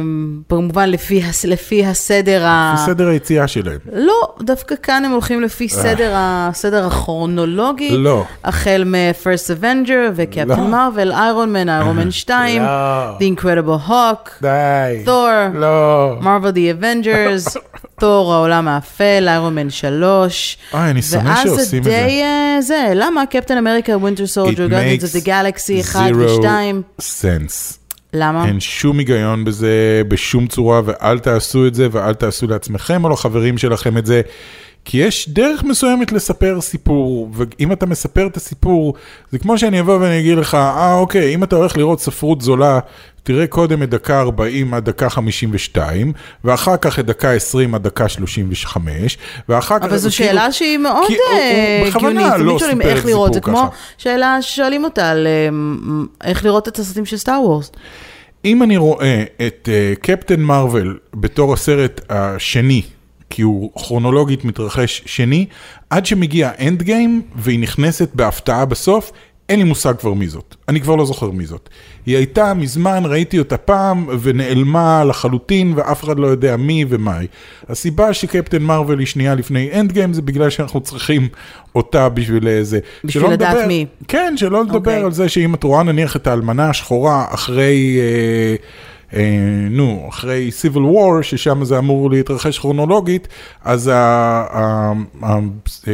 B: כמובן לפי, הס- לפי הסדר ה...
C: לפי סדר היציאה שלהם.
B: לא, דווקא כאן הם הולכים לפי סדר, ה... סדר הכרונולוגי.
C: לא.
B: החל מ-First Avenger
C: לא.
B: וקפטן מרוויל, איירון מן, איירון מן 2,
C: לא.
B: The Incredible Hawk,
C: די.
B: Thor,
C: לא.
B: מרוויל די אבנג'רס, תור העולם האפל, איירון מן 3.
C: אוי, אה, אני שמח שעושים את
B: ואז זה
C: זה.
B: די אה, זה, למה קפטן אמריקה, ווינטר סולג'ר, גארדינס אוף דה גלקסי 1 ו-2,
C: סנס.
B: למה?
C: אין שום היגיון בזה בשום צורה, ואל תעשו את זה, ואל תעשו לעצמכם או לחברים שלכם את זה. כי יש דרך מסוימת לספר סיפור, ואם אתה מספר את הסיפור, זה כמו שאני אבוא ואני אגיד לך, אה אוקיי, אם אתה הולך לראות ספרות זולה, תראה קודם את דקה 40 עד דקה 52, ואחר כך את דקה 20 עד דקה 35, ואחר כך...
B: אבל זו
C: כאילו-
B: שאלה שהיא מאוד
C: כי הוא- הוא
B: אה,
C: בכוונה
B: הגיונית,
C: לא
B: תמיד שואלים
C: סיפר
B: איך
C: את
B: לראות, זה
C: הסיפור
B: כמו
C: ככה.
B: שאלה ששואלים אותה על אה, מ- איך לראות את הסרטים של סטאר וורס.
C: אם אני רואה את אה, קפטן מרוויל בתור הסרט השני, כי הוא כרונולוגית מתרחש שני, עד שמגיע אנד גיים והיא נכנסת בהפתעה בסוף, אין לי מושג כבר מי זאת. אני כבר לא זוכר מי זאת. היא הייתה מזמן, ראיתי אותה פעם, ונעלמה לחלוטין, ואף אחד לא יודע מי ומה היא. הסיבה שקפטן מרוויל היא שנייה לפני אנד גיים, זה בגלל שאנחנו צריכים אותה בשביל איזה...
B: בשביל
C: שלא
B: לדעת
C: נדבר-
B: מי.
C: כן, שלא לדבר
B: אוקיי.
C: על זה שאם את רואה נניח את האלמנה השחורה אחרי, אה, אה, נו, אחרי Civil War, ששם זה אמור להתרחש כרונולוגית, אז ה- ה- ה-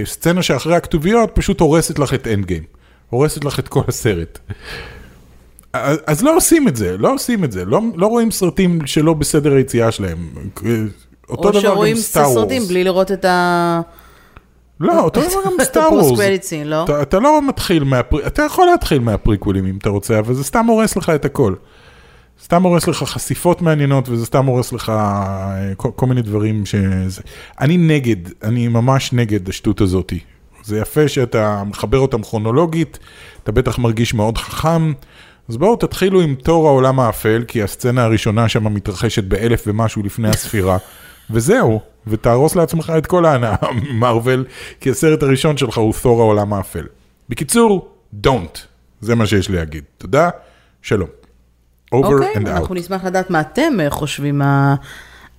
C: הסצנה שאחרי הכתוביות פשוט הורסת לך את אנד גיים. הורסת לך את כל הסרט. אז אז לא עושים את זה, לא עושים את זה, לא, לא רואים סרטים שלא בסדר היציאה שלהם. אה, אותו
B: או
C: דבר גם
B: שרואים
C: סטאר
B: סרטים
C: וורס.
B: בלי לראות את ה...
C: לא, אותו דבר גם סטאר
B: הפוסט
C: וורס.
B: credit scene, לא?
C: אתה, אתה לא מתחיל מהפריקוולים, אתה יכול להתחיל מהפריקוולים אם אתה רוצה, אבל זה סתם הורס לך את הכל. סתם הורס לך חשיפות מעניינות וזה סתם הורס לך אה, כל, כל מיני דברים ש... אני נגד, אני ממש נגד השטות הזאתי. זה יפה שאתה מחבר אותם כרונולוגית, אתה בטח מרגיש מאוד חכם. אז בואו תתחילו עם תור העולם האפל, כי הסצנה הראשונה שם מתרחשת באלף ומשהו לפני הספירה, וזהו, ותהרוס לעצמך את כל ההנאה מרוויל, כי הסרט הראשון שלך הוא תור העולם האפל. בקיצור, don't. זה מה שיש לי להגיד. תודה, שלום. over
B: אוקיי,
C: and out.
B: אנחנו נשמח לדעת מה אתם אה, חושבים אה,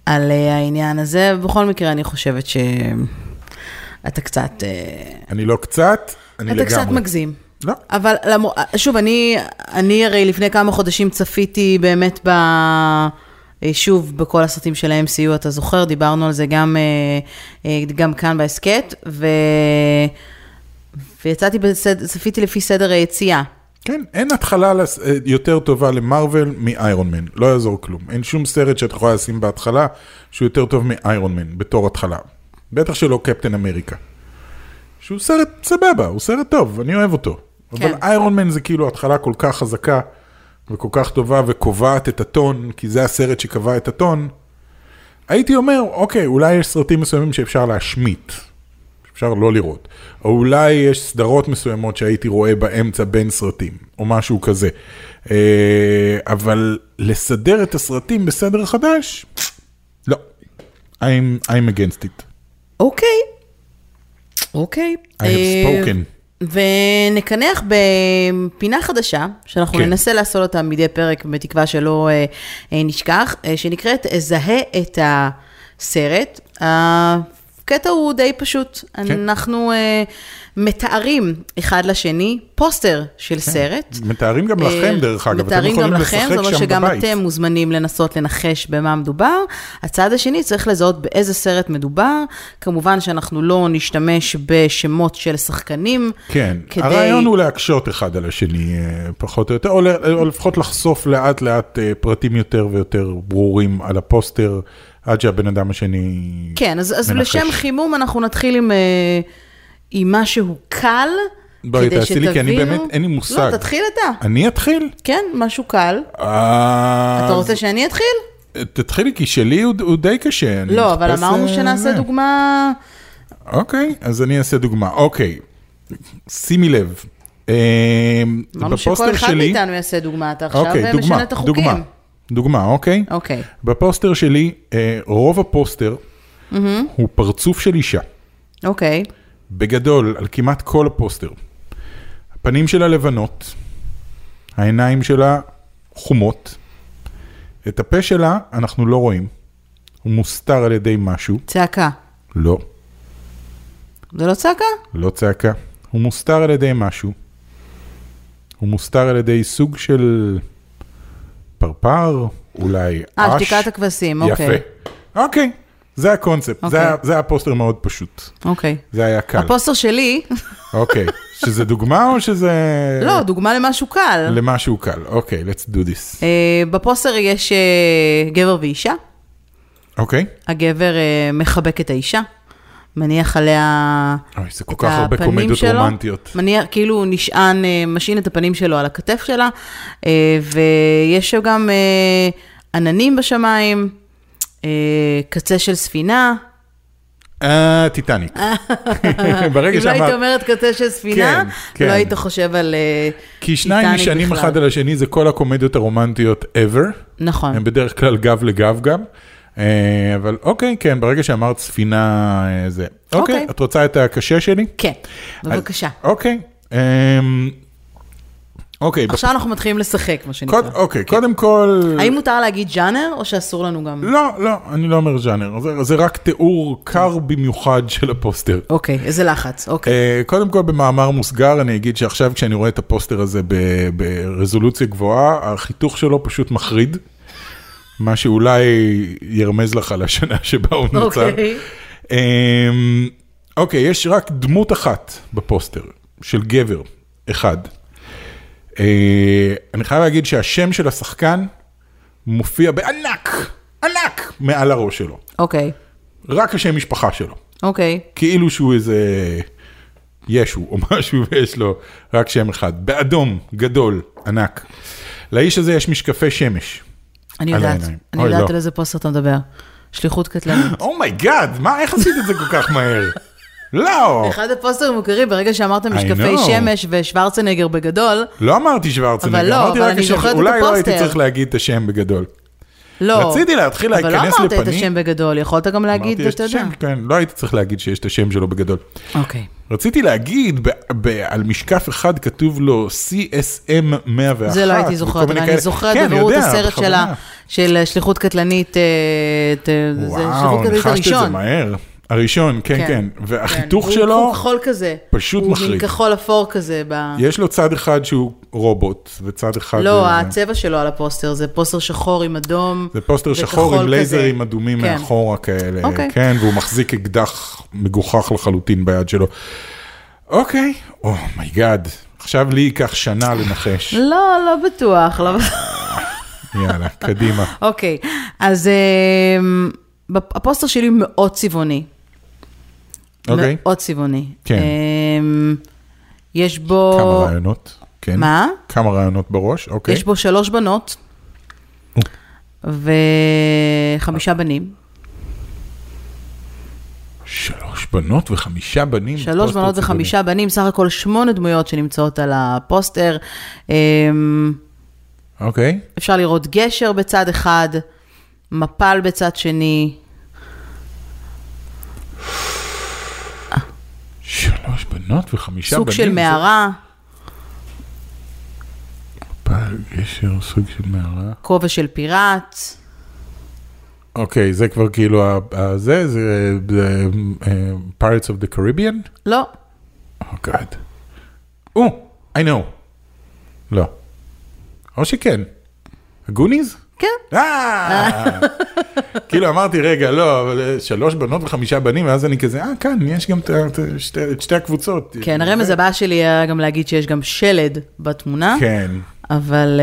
B: על אה, העניין הזה. בכל מקרה, אני חושבת שאתה קצת... אה,
C: אני לא קצת, אני
B: אתה
C: לגמרי.
B: קצת מגזים.
C: לא.
B: אבל למור... שוב, אני, אני הרי לפני כמה חודשים צפיתי באמת ב... אה, שוב, בכל הסרטים של ה-MCU, אתה זוכר, דיברנו על זה גם, אה, אה, גם כאן בהסכת, ו... ויצאתי, בסד... צפיתי לפי סדר היציאה.
C: כן, אין התחלה לס- אה, יותר טובה למרוויל מאיירון מן, לא יעזור כלום. אין שום סרט שאת יכולה לשים בהתחלה שהוא יותר טוב מאיירון מן, בתור התחלה. בטח שלא קפטן אמריקה. שהוא סרט סבבה, הוא סרט טוב, אני אוהב אותו.
B: כן.
C: אבל איירון מן זה כאילו התחלה כל כך חזקה וכל כך טובה וקובעת את הטון, כי זה הסרט שקבע את הטון. הייתי אומר, אוקיי, אולי יש סרטים מסוימים שאפשר להשמיט, אפשר לא לראות. או אולי יש סדרות מסוימות שהייתי רואה באמצע בין סרטים, או משהו כזה. אה, אבל לסדר את הסרטים בסדר חדש, לא. I'm, I'm against it.
B: אוקיי. אוקיי.
C: I have spoken.
B: ונקנח בפינה חדשה, שאנחנו
C: כן.
B: כן. ננסה לעשות אותה מדי פרק, בתקווה שלא אה, אה, נשכח, אה, שנקראת אה, זהה את הסרט. הקטע הוא די פשוט. כן. אנחנו אה, מתארים אחד לשני פוסטר של כן. סרט.
C: מתארים גם לכם,
B: אה,
C: דרך אגב, אתם
B: מתארים
C: יכולים
B: גם לכם,
C: לשחק
B: זה אומר
C: שם
B: שגם
C: בבית.
B: אתם מוזמנים לנסות לנחש במה מדובר. הצד השני צריך לזהות באיזה סרט מדובר. כמובן שאנחנו לא נשתמש בשמות של שחקנים.
C: כן,
B: כדי-
C: הרעיון הוא להקשות אחד על השני, אה, פחות או יותר, או, ל- או לפחות לחשוף לאט לאט אה, פרטים יותר ויותר ברורים על הפוסטר, עד שהבן אדם השני
B: כן, אז, אז
C: מנחש.
B: לשם חימום אנחנו נתחיל עם, אה, עם משהו קל,
C: בואי,
B: כדי
C: תעשי
B: שתבינו.
C: לי, כי אני באמת- אין לי מושג.
B: לא, תתחיל אתה.
C: אני אתחיל?
B: כן, משהו קל.
C: אתה
B: אתה רוצה שאני אתחיל?
C: אה, תתחילי, כי שלי הוא, הוא די קשה. אני
B: לא, אבל
C: מחפש,
B: אמרנו
C: אה,
B: שנעשה
C: זה.
B: דוגמה...
C: אוקיי, אז אני אעשה דוגמה. אוקיי, שימי לב, אה,
B: אמרנו שכל
C: בפוסטר
B: אחד
C: שלי...
B: מאיתנו יעשה דוגמה, אתה עכשיו אה,
C: אוקיי, דוגמה,
B: משנה את החוקים.
C: דוגמה, דוגמה, אוקיי?
B: אוקיי.
C: בפוסטר שלי, אה, רוב הפוסטר הוא פרצוף של אישה,
B: אוקיי,
C: בגדול, על כמעט כל הפוסטר. הפנים שלה לבנות, העיניים שלה חומות, את הפה שלה אנחנו לא רואים, הוא מוסתר על ידי משהו,
B: צעקה.
C: לא,
B: זה לא צעקה?
C: לא צעקה, הוא מוסתר על ידי משהו, הוא מוסתר על ידי סוג של פרפר, אולי
B: אה,
C: אש.
B: שתיקת הכבשים, אוקיי.
C: יפה. אוקיי, זה הקונספט,
B: אוקיי.
C: זה ה- זה הפוסטר מאוד פשוט.
B: אוקיי.
C: זה היה קל.
B: הפוסטר שלי,
C: אוקיי, שזה דוגמה או שזה...
B: לא, דוגמה למשהו קל.
C: למשהו קל, אוקיי, let's do this.
B: אה, בפוסטר יש אה, גבר ואישה,
C: אוקיי?
B: הגבר אה, מחבק את האישה, מניח עליה
C: אוי, זה כל
B: את
C: כך הרבה
B: הפנים
C: קומדיות
B: שלו,
C: רומנטיות.
B: מניח, כאילו הוא נשען, אה, משעין את הפנים שלו על הכתף שלה, אה, ויש שם גם אה, עננים בשמיים, אה, קצה של ספינה.
C: אה, טיטניק. ברגע
B: אם לא היית
C: שאמרת,
B: אומרת קצה של ספינה,
C: כן, כן.
B: לא היית חושב על אה,
C: כי שניים
B: טיטניק
C: נשענים
B: בכלל.
C: אחד על השני, זה כל הקומדיות הרומנטיות ever.
B: נכון.
C: הם בדרך כלל גב לגב גם. אה, אבל אוקיי, כן, ברגע שאמרת ספינה, אה, זה. אוקיי,
B: אוקיי.
C: את רוצה את הקשה שלי?
B: כן, בבקשה.
C: אז- אוקיי. אמ, אוקיי,
B: עכשיו אנחנו מתחילים לשחק, מה שנקרא.
C: קוד- אוקיי, קודם כל...
B: האם מותר להגיד ז'אנר, או שאסור לנו גם...
C: לא, לא, אני לא אומר ז'אנר, זה, זה רק תיאור קר במיוחד של הפוסטר.
B: אוקיי, איזה לחץ, אוקיי.
C: אה, קודם כל, במאמר מוסגר, אני אגיד שעכשיו כשאני רואה את הפוסטר הזה ב- ברזולוציה גבוהה, החיתוך שלו פשוט מחריד, מה שאולי ירמז לך על השנה שבה הוא נוצר.
B: אוקיי.
C: אמ, אוקיי, יש רק דמות אחת בפוסטר, של גבר, אחד. אה, אני חייב להגיד שהשם של השחקן מופיע בענק, ענק, מעל הראש שלו.
B: אוקיי,
C: רק השם משפחה שלו.
B: אוקיי.
C: כאילו שהוא איזה ישו או משהו ויש לו רק שם אחד. באדום, גדול, ענק. לאיש הזה יש משקפי שמש.
B: אני
C: על
B: יודעת,
C: העיניים.
B: אני
C: אוי,
B: יודעת
C: לא. אה.
B: על איזה פוסט אתה מדבר. שליחות קטלנית.
C: אומייגאד, Oh מה, איך עשית את זה כל כך מהר? לא,
B: אחד הפוסטרים המוכרים, ברגע שאמרת משקפי
C: know.
B: שמש ושוורצנגר בגדול,
C: לא אמרתי שוורצנגר,
B: אבל לא,
C: אמרתי
B: אבל
C: רק
B: אני
C: השם,
B: זוכרת את
C: אולי לא הייתי
B: הפוסטר.
C: צריך להגיד את השם בגדול.
B: לא.
C: רציתי להתחיל להיכנס
B: אבל לא אמרת את
C: לפנים.
B: השם בגדול, יכולת גם להגיד,
C: אמרתי, יש את
B: אתה יודע.
C: השם, כן, לא הייתי צריך להגיד שיש את השם שלו בגדול.
B: אוקיי.
C: רציתי להגיד, ב, ב, על משקף אחד כתוב לו CSM 101.
B: זה לא הייתי זוכרת,
C: וכל
B: אבל
C: מיני
B: אני
C: כאלה.
B: זוכרת
C: כן,
B: בבירור את
C: יודע,
B: הסרט של ה-
C: בכוונה.
B: של שליחות קטלנית, אה, את- אה, זה שליחות
C: וואו,
B: קטלנית
C: ניחשת את זה
B: הראשון.
C: מהר. הראשון, כן,
B: כן.
C: כן. והחיתוך
B: כן,
C: שלו,
B: הוא כחול כזה.
C: פשוט
B: הוא מין
C: מחריד.
B: כחול אפור כזה. ב- יש...
C: יש לו צד אחד שהוא רובוט, וצד אחד...
B: לא,
C: אה,
B: הצבע שלו על הפוסטר זה פוסטר שחור עם אדום.
C: זה פוסטר
B: וכחול
C: שחור עם
B: כזה.
C: לייזרים אדומים
B: כן.
C: מאחורה כאלה,
B: אוקיי.
C: כן, והוא מחזיק אקדח מגוחך לחלוטין ביד שלו. אוקיי, אומייגאד, עכשיו לי ייקח שנה לנחש.
B: לא, לא בטוח. לא... בטוח.
C: יאללה, קדימה.
B: אוקיי, אז אמ, בפ- הפוסטר שלי מאוד צבעוני.
C: אוקיי,
B: מאוד צבעוני.
C: כן.
B: אמ, יש בו...
C: כמה רעיונות, כן.
B: מה?
C: כמה רעיונות בראש, אוקיי.
B: יש בו שלוש בנות
C: או.
B: וחמישה
C: אה,
B: בנים.
C: שלוש בנות וחמישה בנים.
B: שלוש
C: פוסט
B: בנות
C: רציני.
B: וחמישה בנים, סך הכל שמונה דמויות שנמצאות על הפוסטר. אמ,
C: אוקיי,
B: אפשר לראות גשר בצד אחד, מפל בצד שני.
C: שלוש בנות בנות וחמישה
B: סוג
C: בנים.
B: של
C: זה-
B: מערה,
C: פעל גשר, סוג של מערה.
B: כובע של פיראט.
C: אוקיי, זה כבר כאילו, ה- ה- זה, זה זה, אה, Pirates of the Caribbean?
B: לא,
C: Oh God. או, I know. לא. או שכן. הגוניז?
B: כן.
C: אה! כאילו אמרתי, רגע, לא, אבל אה, שלוש בנות וחמישה בנים, ואז אני כזה, אה, כאן, יש גם את ה- את ה- שתי- את שתי הקבוצות.
B: כן, הרמז הבא שלי היה גם להגיד שיש גם שלד בתמונה,
C: כן.
B: אבל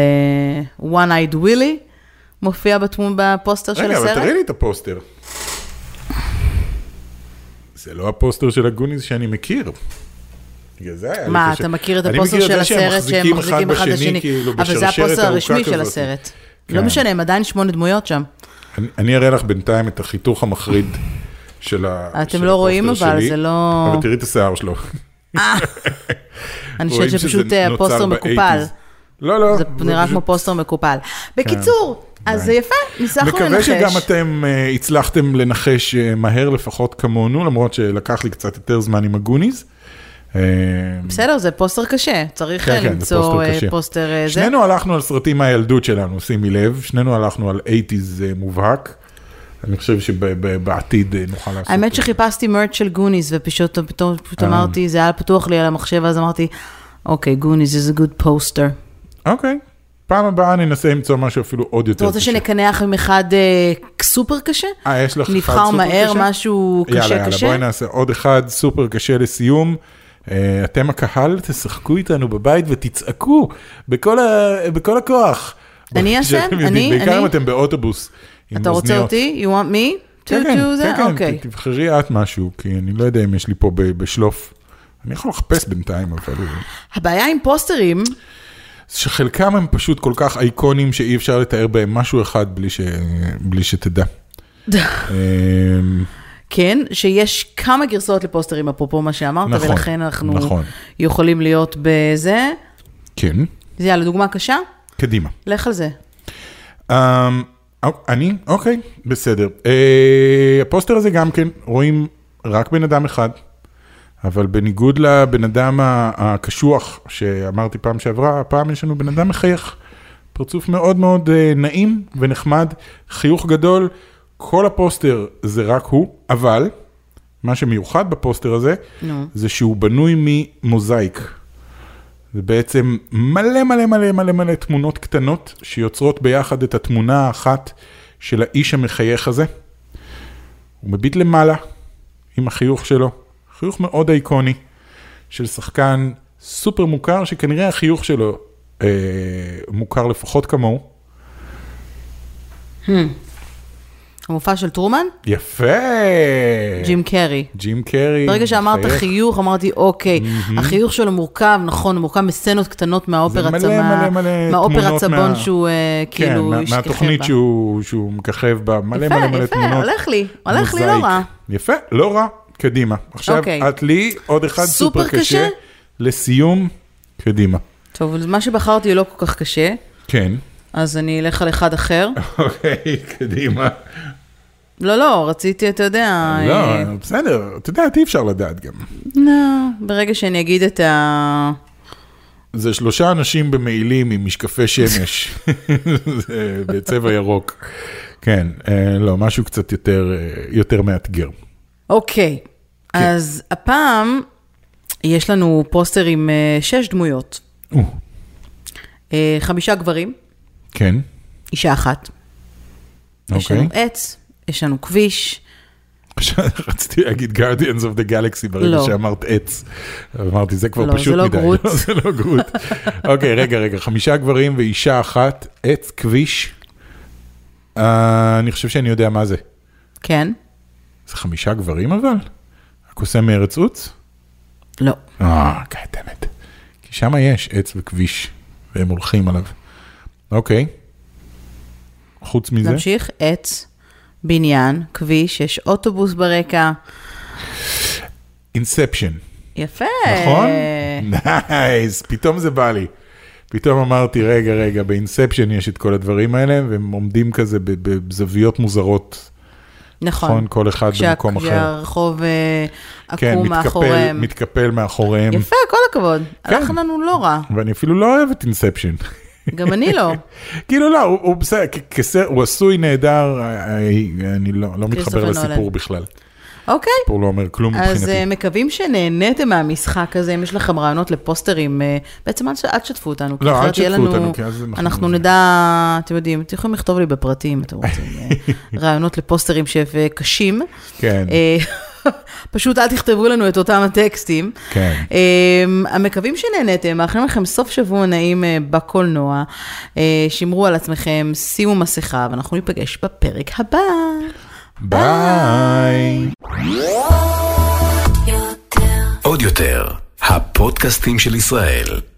B: uh, one eyed willy מופיע בתמונה בפוסטר של
C: רגע,
B: הסרט.
C: אבל תראי לי את הפוסטר. זה לא הפוסטר של הגוניז שאני מכיר. בגלל זה היה לי
B: מה,
C: קשה.
B: אתה מכיר את
C: אני
B: הפוסטר
C: מכיר
B: של
C: זה שהם
B: הסרט שהם מחזיקים אחד בשני,
C: כאילו,
B: אבל זה
C: בשרשרת
B: הפוסטר
C: ארוכה
B: הרשמי של
C: כזאת.
B: הסרט.
C: כן.
B: לא משנה, הם עדיין שמונה דמויות שם.
C: אני- אני אראה לך בינתיים את החיתוך המחריד של ה... של
B: אתם
C: הפוסטר
B: לא רואים אבל,
C: שלי.
B: זה לא...
C: אבל תראי את השיער שלו.
B: אני
C: רואים
B: חושבת
C: שזה
B: שפשוט אה,
C: נוצר
B: הפוסטר
C: ב-80s.
B: מקופל.
C: לא, לא.
B: זה נראה
C: פשוט- כן. אוקיי.
B: כמו פוסטר מקופל. בקיצור, אז זה יפה, ניסחנו
C: מקווה שגם
B: לנחש.
C: אתם אה, הצלחתם לנחש אה, מהר לפחות כמונו, למרות שלקח לי קצת יותר זמן עם הגוניז. אה,
B: בסדר, זה פוסטר קשה, צריך
C: כן,
B: אה,
C: כן, זה
B: למצוא
C: פוסטר
B: אה,
C: קשה.
B: פוסטר אה, זה.
C: שנינו הלכנו על סרטים מהילדות שלנו, שימי לב, שנינו הלכנו על 80's אה, מובהק. אני חושב שבעתיד אה, נוכל לעשות...
B: האמת
C: את זה.
B: שחיפשתי מרץ' של גוניז, ופשוט פתאום- פשוט
C: אה.
B: אמרתי, זה היה פתוח לי על המחשב, ואז אמרתי, אוקיי, גוניז is a good poster.
C: אוקיי. פעם הבאה ננסה למצוא משהו אפילו עוד יותר
B: אתה רוצה
C: קשה.
B: שנקנח עם אחד אה, סופר קשה?
C: אה, יש לך אחד
B: נבחר
C: סופר
B: מהר
C: קשה?
B: משהו קשה
C: יאללה, יאללה,
B: קשה?
C: בואי נעשה עוד אחד סופר קשה לסיום. אה, אתם הקהל, תשחקו איתנו בבית ותצעקו בכל, ה... בכל הכוח.
B: אני אעשה?
C: שאתם
B: אני-
C: יודעים, בעיקר
B: אני?
C: אם אתם באוטובוס עם
B: אתה רוצה
C: אוזניות.
B: אותי? You want me? to
C: כן, כן,
B: do
C: כן,
B: that?
C: כן,
B: אוקיי.
C: ת- תבחרי את משהו, כי אני לא יודע אם יש לי פה ב- בשלוף. אני יכול לחפש בינתיים, אבל... אה,
B: הבעיה עם פוסטרים,
C: שחלקם הם פשוט כל כך אייקונים שאי אפשר לתאר בהם משהו אחד בלי, ש... בלי שתדע. אמ,
B: כן, שיש כמה גרסאות לפוסטרים, אפרופו מה שאמרת,
C: נכון,
B: ולכן אנחנו
C: נכון.
B: יכולים להיות בזה.
C: כן,
B: אז יאללה, דוגמה קשה?
C: קדימה.
B: לך על זה.
C: אמ, אוק- אני? אוקיי, בסדר. אה, הפוסטר הזה גם כן, רואים רק בן אדם אחד, אבל בניגוד לבן אדם ה- הקשוח שאמרתי פעם שעברה, הפעם יש לנו בן אדם מחייך. פרצוף מאוד מאוד אה, נעים ונחמד, חיוך גדול, כל הפוסטר זה רק הוא, אבל מה שמיוחד בפוסטר הזה,
B: נו.
C: זה שהוא בנוי ממוזאיק. זה בעצם מלא מלא מלא מלא מלא תמונות קטנות שיוצרות ביחד את התמונה האחת של האיש המחייך הזה. הוא מביט למעלה עם החיוך שלו, חיוך מאוד אייקוני של שחקן סופר מוכר, שכנראה החיוך שלו אה, מוכר לפחות כמוהו.
B: המופע של טרומן?
C: יפה!
B: ג'ים קרי.
C: ג'ים קרי.
B: ברגע שאמרת
C: כן. מחייך.
B: חיוך, אמרתי, אוקיי, החיוך שלו מורכב, נכון, הוא מורכב מסצנות קטנות מהאופרה
C: מלא,
B: צבון,
C: מלא, מלא
B: מהאופרה
C: תמונות
B: צבון
C: מה-
B: שהוא אה,
C: כן,
B: כאילו
C: מה-
B: השתכחב
C: מהתוכנית
B: בה.
C: שהוא, שהוא מככב בה, מלא מלא מלא
B: יפה,
C: תמונות.
B: יפה, הולך לי, הולך לי לא
C: מוזאיק.
B: רע.
C: יפה, לא רע, קדימה. עכשיו
B: אוקיי.
C: את לי עוד אחד
B: סופר
C: סופר קשה.
B: קשה?
C: לסיום, קדימה.
B: טוב, אז מה שבחרתי הוא לא כל כך קשה,
C: כן.
B: אז אני אלך על אחד אחר.
C: אוקיי, קדימה.
B: לא, לא, רציתי, אתה יודע... אה,
C: לא, בסדר, את יודעת, אי אפשר לדעת גם.
B: לא, ברגע שאני אגיד את ה...
C: זה שלושה אנשים במעילים עם משקפי שמש, זה בצבע ירוק. כן, אה, לא, משהו קצת יותר, אה, יותר מאתגר.
B: אוקיי,
C: כן.
B: אז הפעם יש לנו פוסטר עם אה, שש דמויות.
C: או,
B: אה, חמישה גברים,
C: כן,
B: אישה אחת. יש
C: אוקיי.
B: לנו עץ, יש לנו כביש,
C: עכשיו, רציתי להגיד Guardians of the Galaxy ברגע
B: לא.
C: שאמרת עץ. אמרתי, זה כבר
B: לא,
C: פשוט
B: זה לא
C: מדי.
B: גרוט.
C: לא, זה לא גרוט. אוקיי, רגע, רגע, חמישה גברים ואישה אחת, עץ, כביש. אה, אני חושב שאני יודע מה זה.
B: כן?
C: זה חמישה גברים אבל? הקוסם מארץ עוץ?
B: לא.
C: אה, קטמת. כי שם יש עץ וכביש, והם הולכים עליו. אוקיי. חוץ מזה,
B: נמשיך, עץ, בניין, כביש, יש אוטובוס ברקע.
C: אינספשן.
B: יפה.
C: נכון?
B: אה.
C: נייס, פתאום זה בא לי. פתאום אמרתי, רגע, רגע, באינספשן יש את כל הדברים האלה, והם עומדים כזה ב- ב- בזוויות מוזרות
B: נכון.
C: כל אחד
B: כשה-
C: במקום אחר.
B: כשהרחוב אה,
C: כן,
B: עקום
C: מתקפל, כן.
B: מאחוריהם.
C: מתקפל מאחוריהם.
B: יפה, כל הכבוד. הלך לנו לא רע.
C: ואני אפילו לא אוהב את אינספשן.
B: גם אני לא.
C: כאילו לא, הוא, הוא בסדר, כ- כסר- הוא עשוי נהדר, אה, אה, אני לא, לא מתחבר
B: כריסטופר
C: לסיפור
B: נולן. בכלל.
C: בכלל.
B: אוקיי.
C: הסיפור לא אומר כלום
B: אז אה,
C: מבחינתי.
B: מקווים שנהניתם מהמשחק הזה, אם יש לכם רעיונות לפוסטרים, אה, בעצם אל ש- אל תשתפו אותנו, כי
C: לא, אל
B: אחרת יהיה
C: תשתפו
B: לנו-
C: אותנו, כי אז אנחנו-
B: אנחנו נדע, אתם יודעים, אתם יכולים לכתוב לי בפרטים, אם אתם רוצים, אה, רעיונות לפוסטרים שהם אה, קשים.
C: כן.
B: אה, פשוט אל תכתבו לנו את אותם הטקסטים.
C: כן.
B: אה, המקווים שנהניתם, מאחלים לכם סוף שבוע נעים אה, בקולנוע. אה, שמרו על עצמכם, שימו מסכה, ואנחנו ניפגש בפרק הבא.
C: ביי.
A: עוד יותר, הפודקאסטים של ישראל.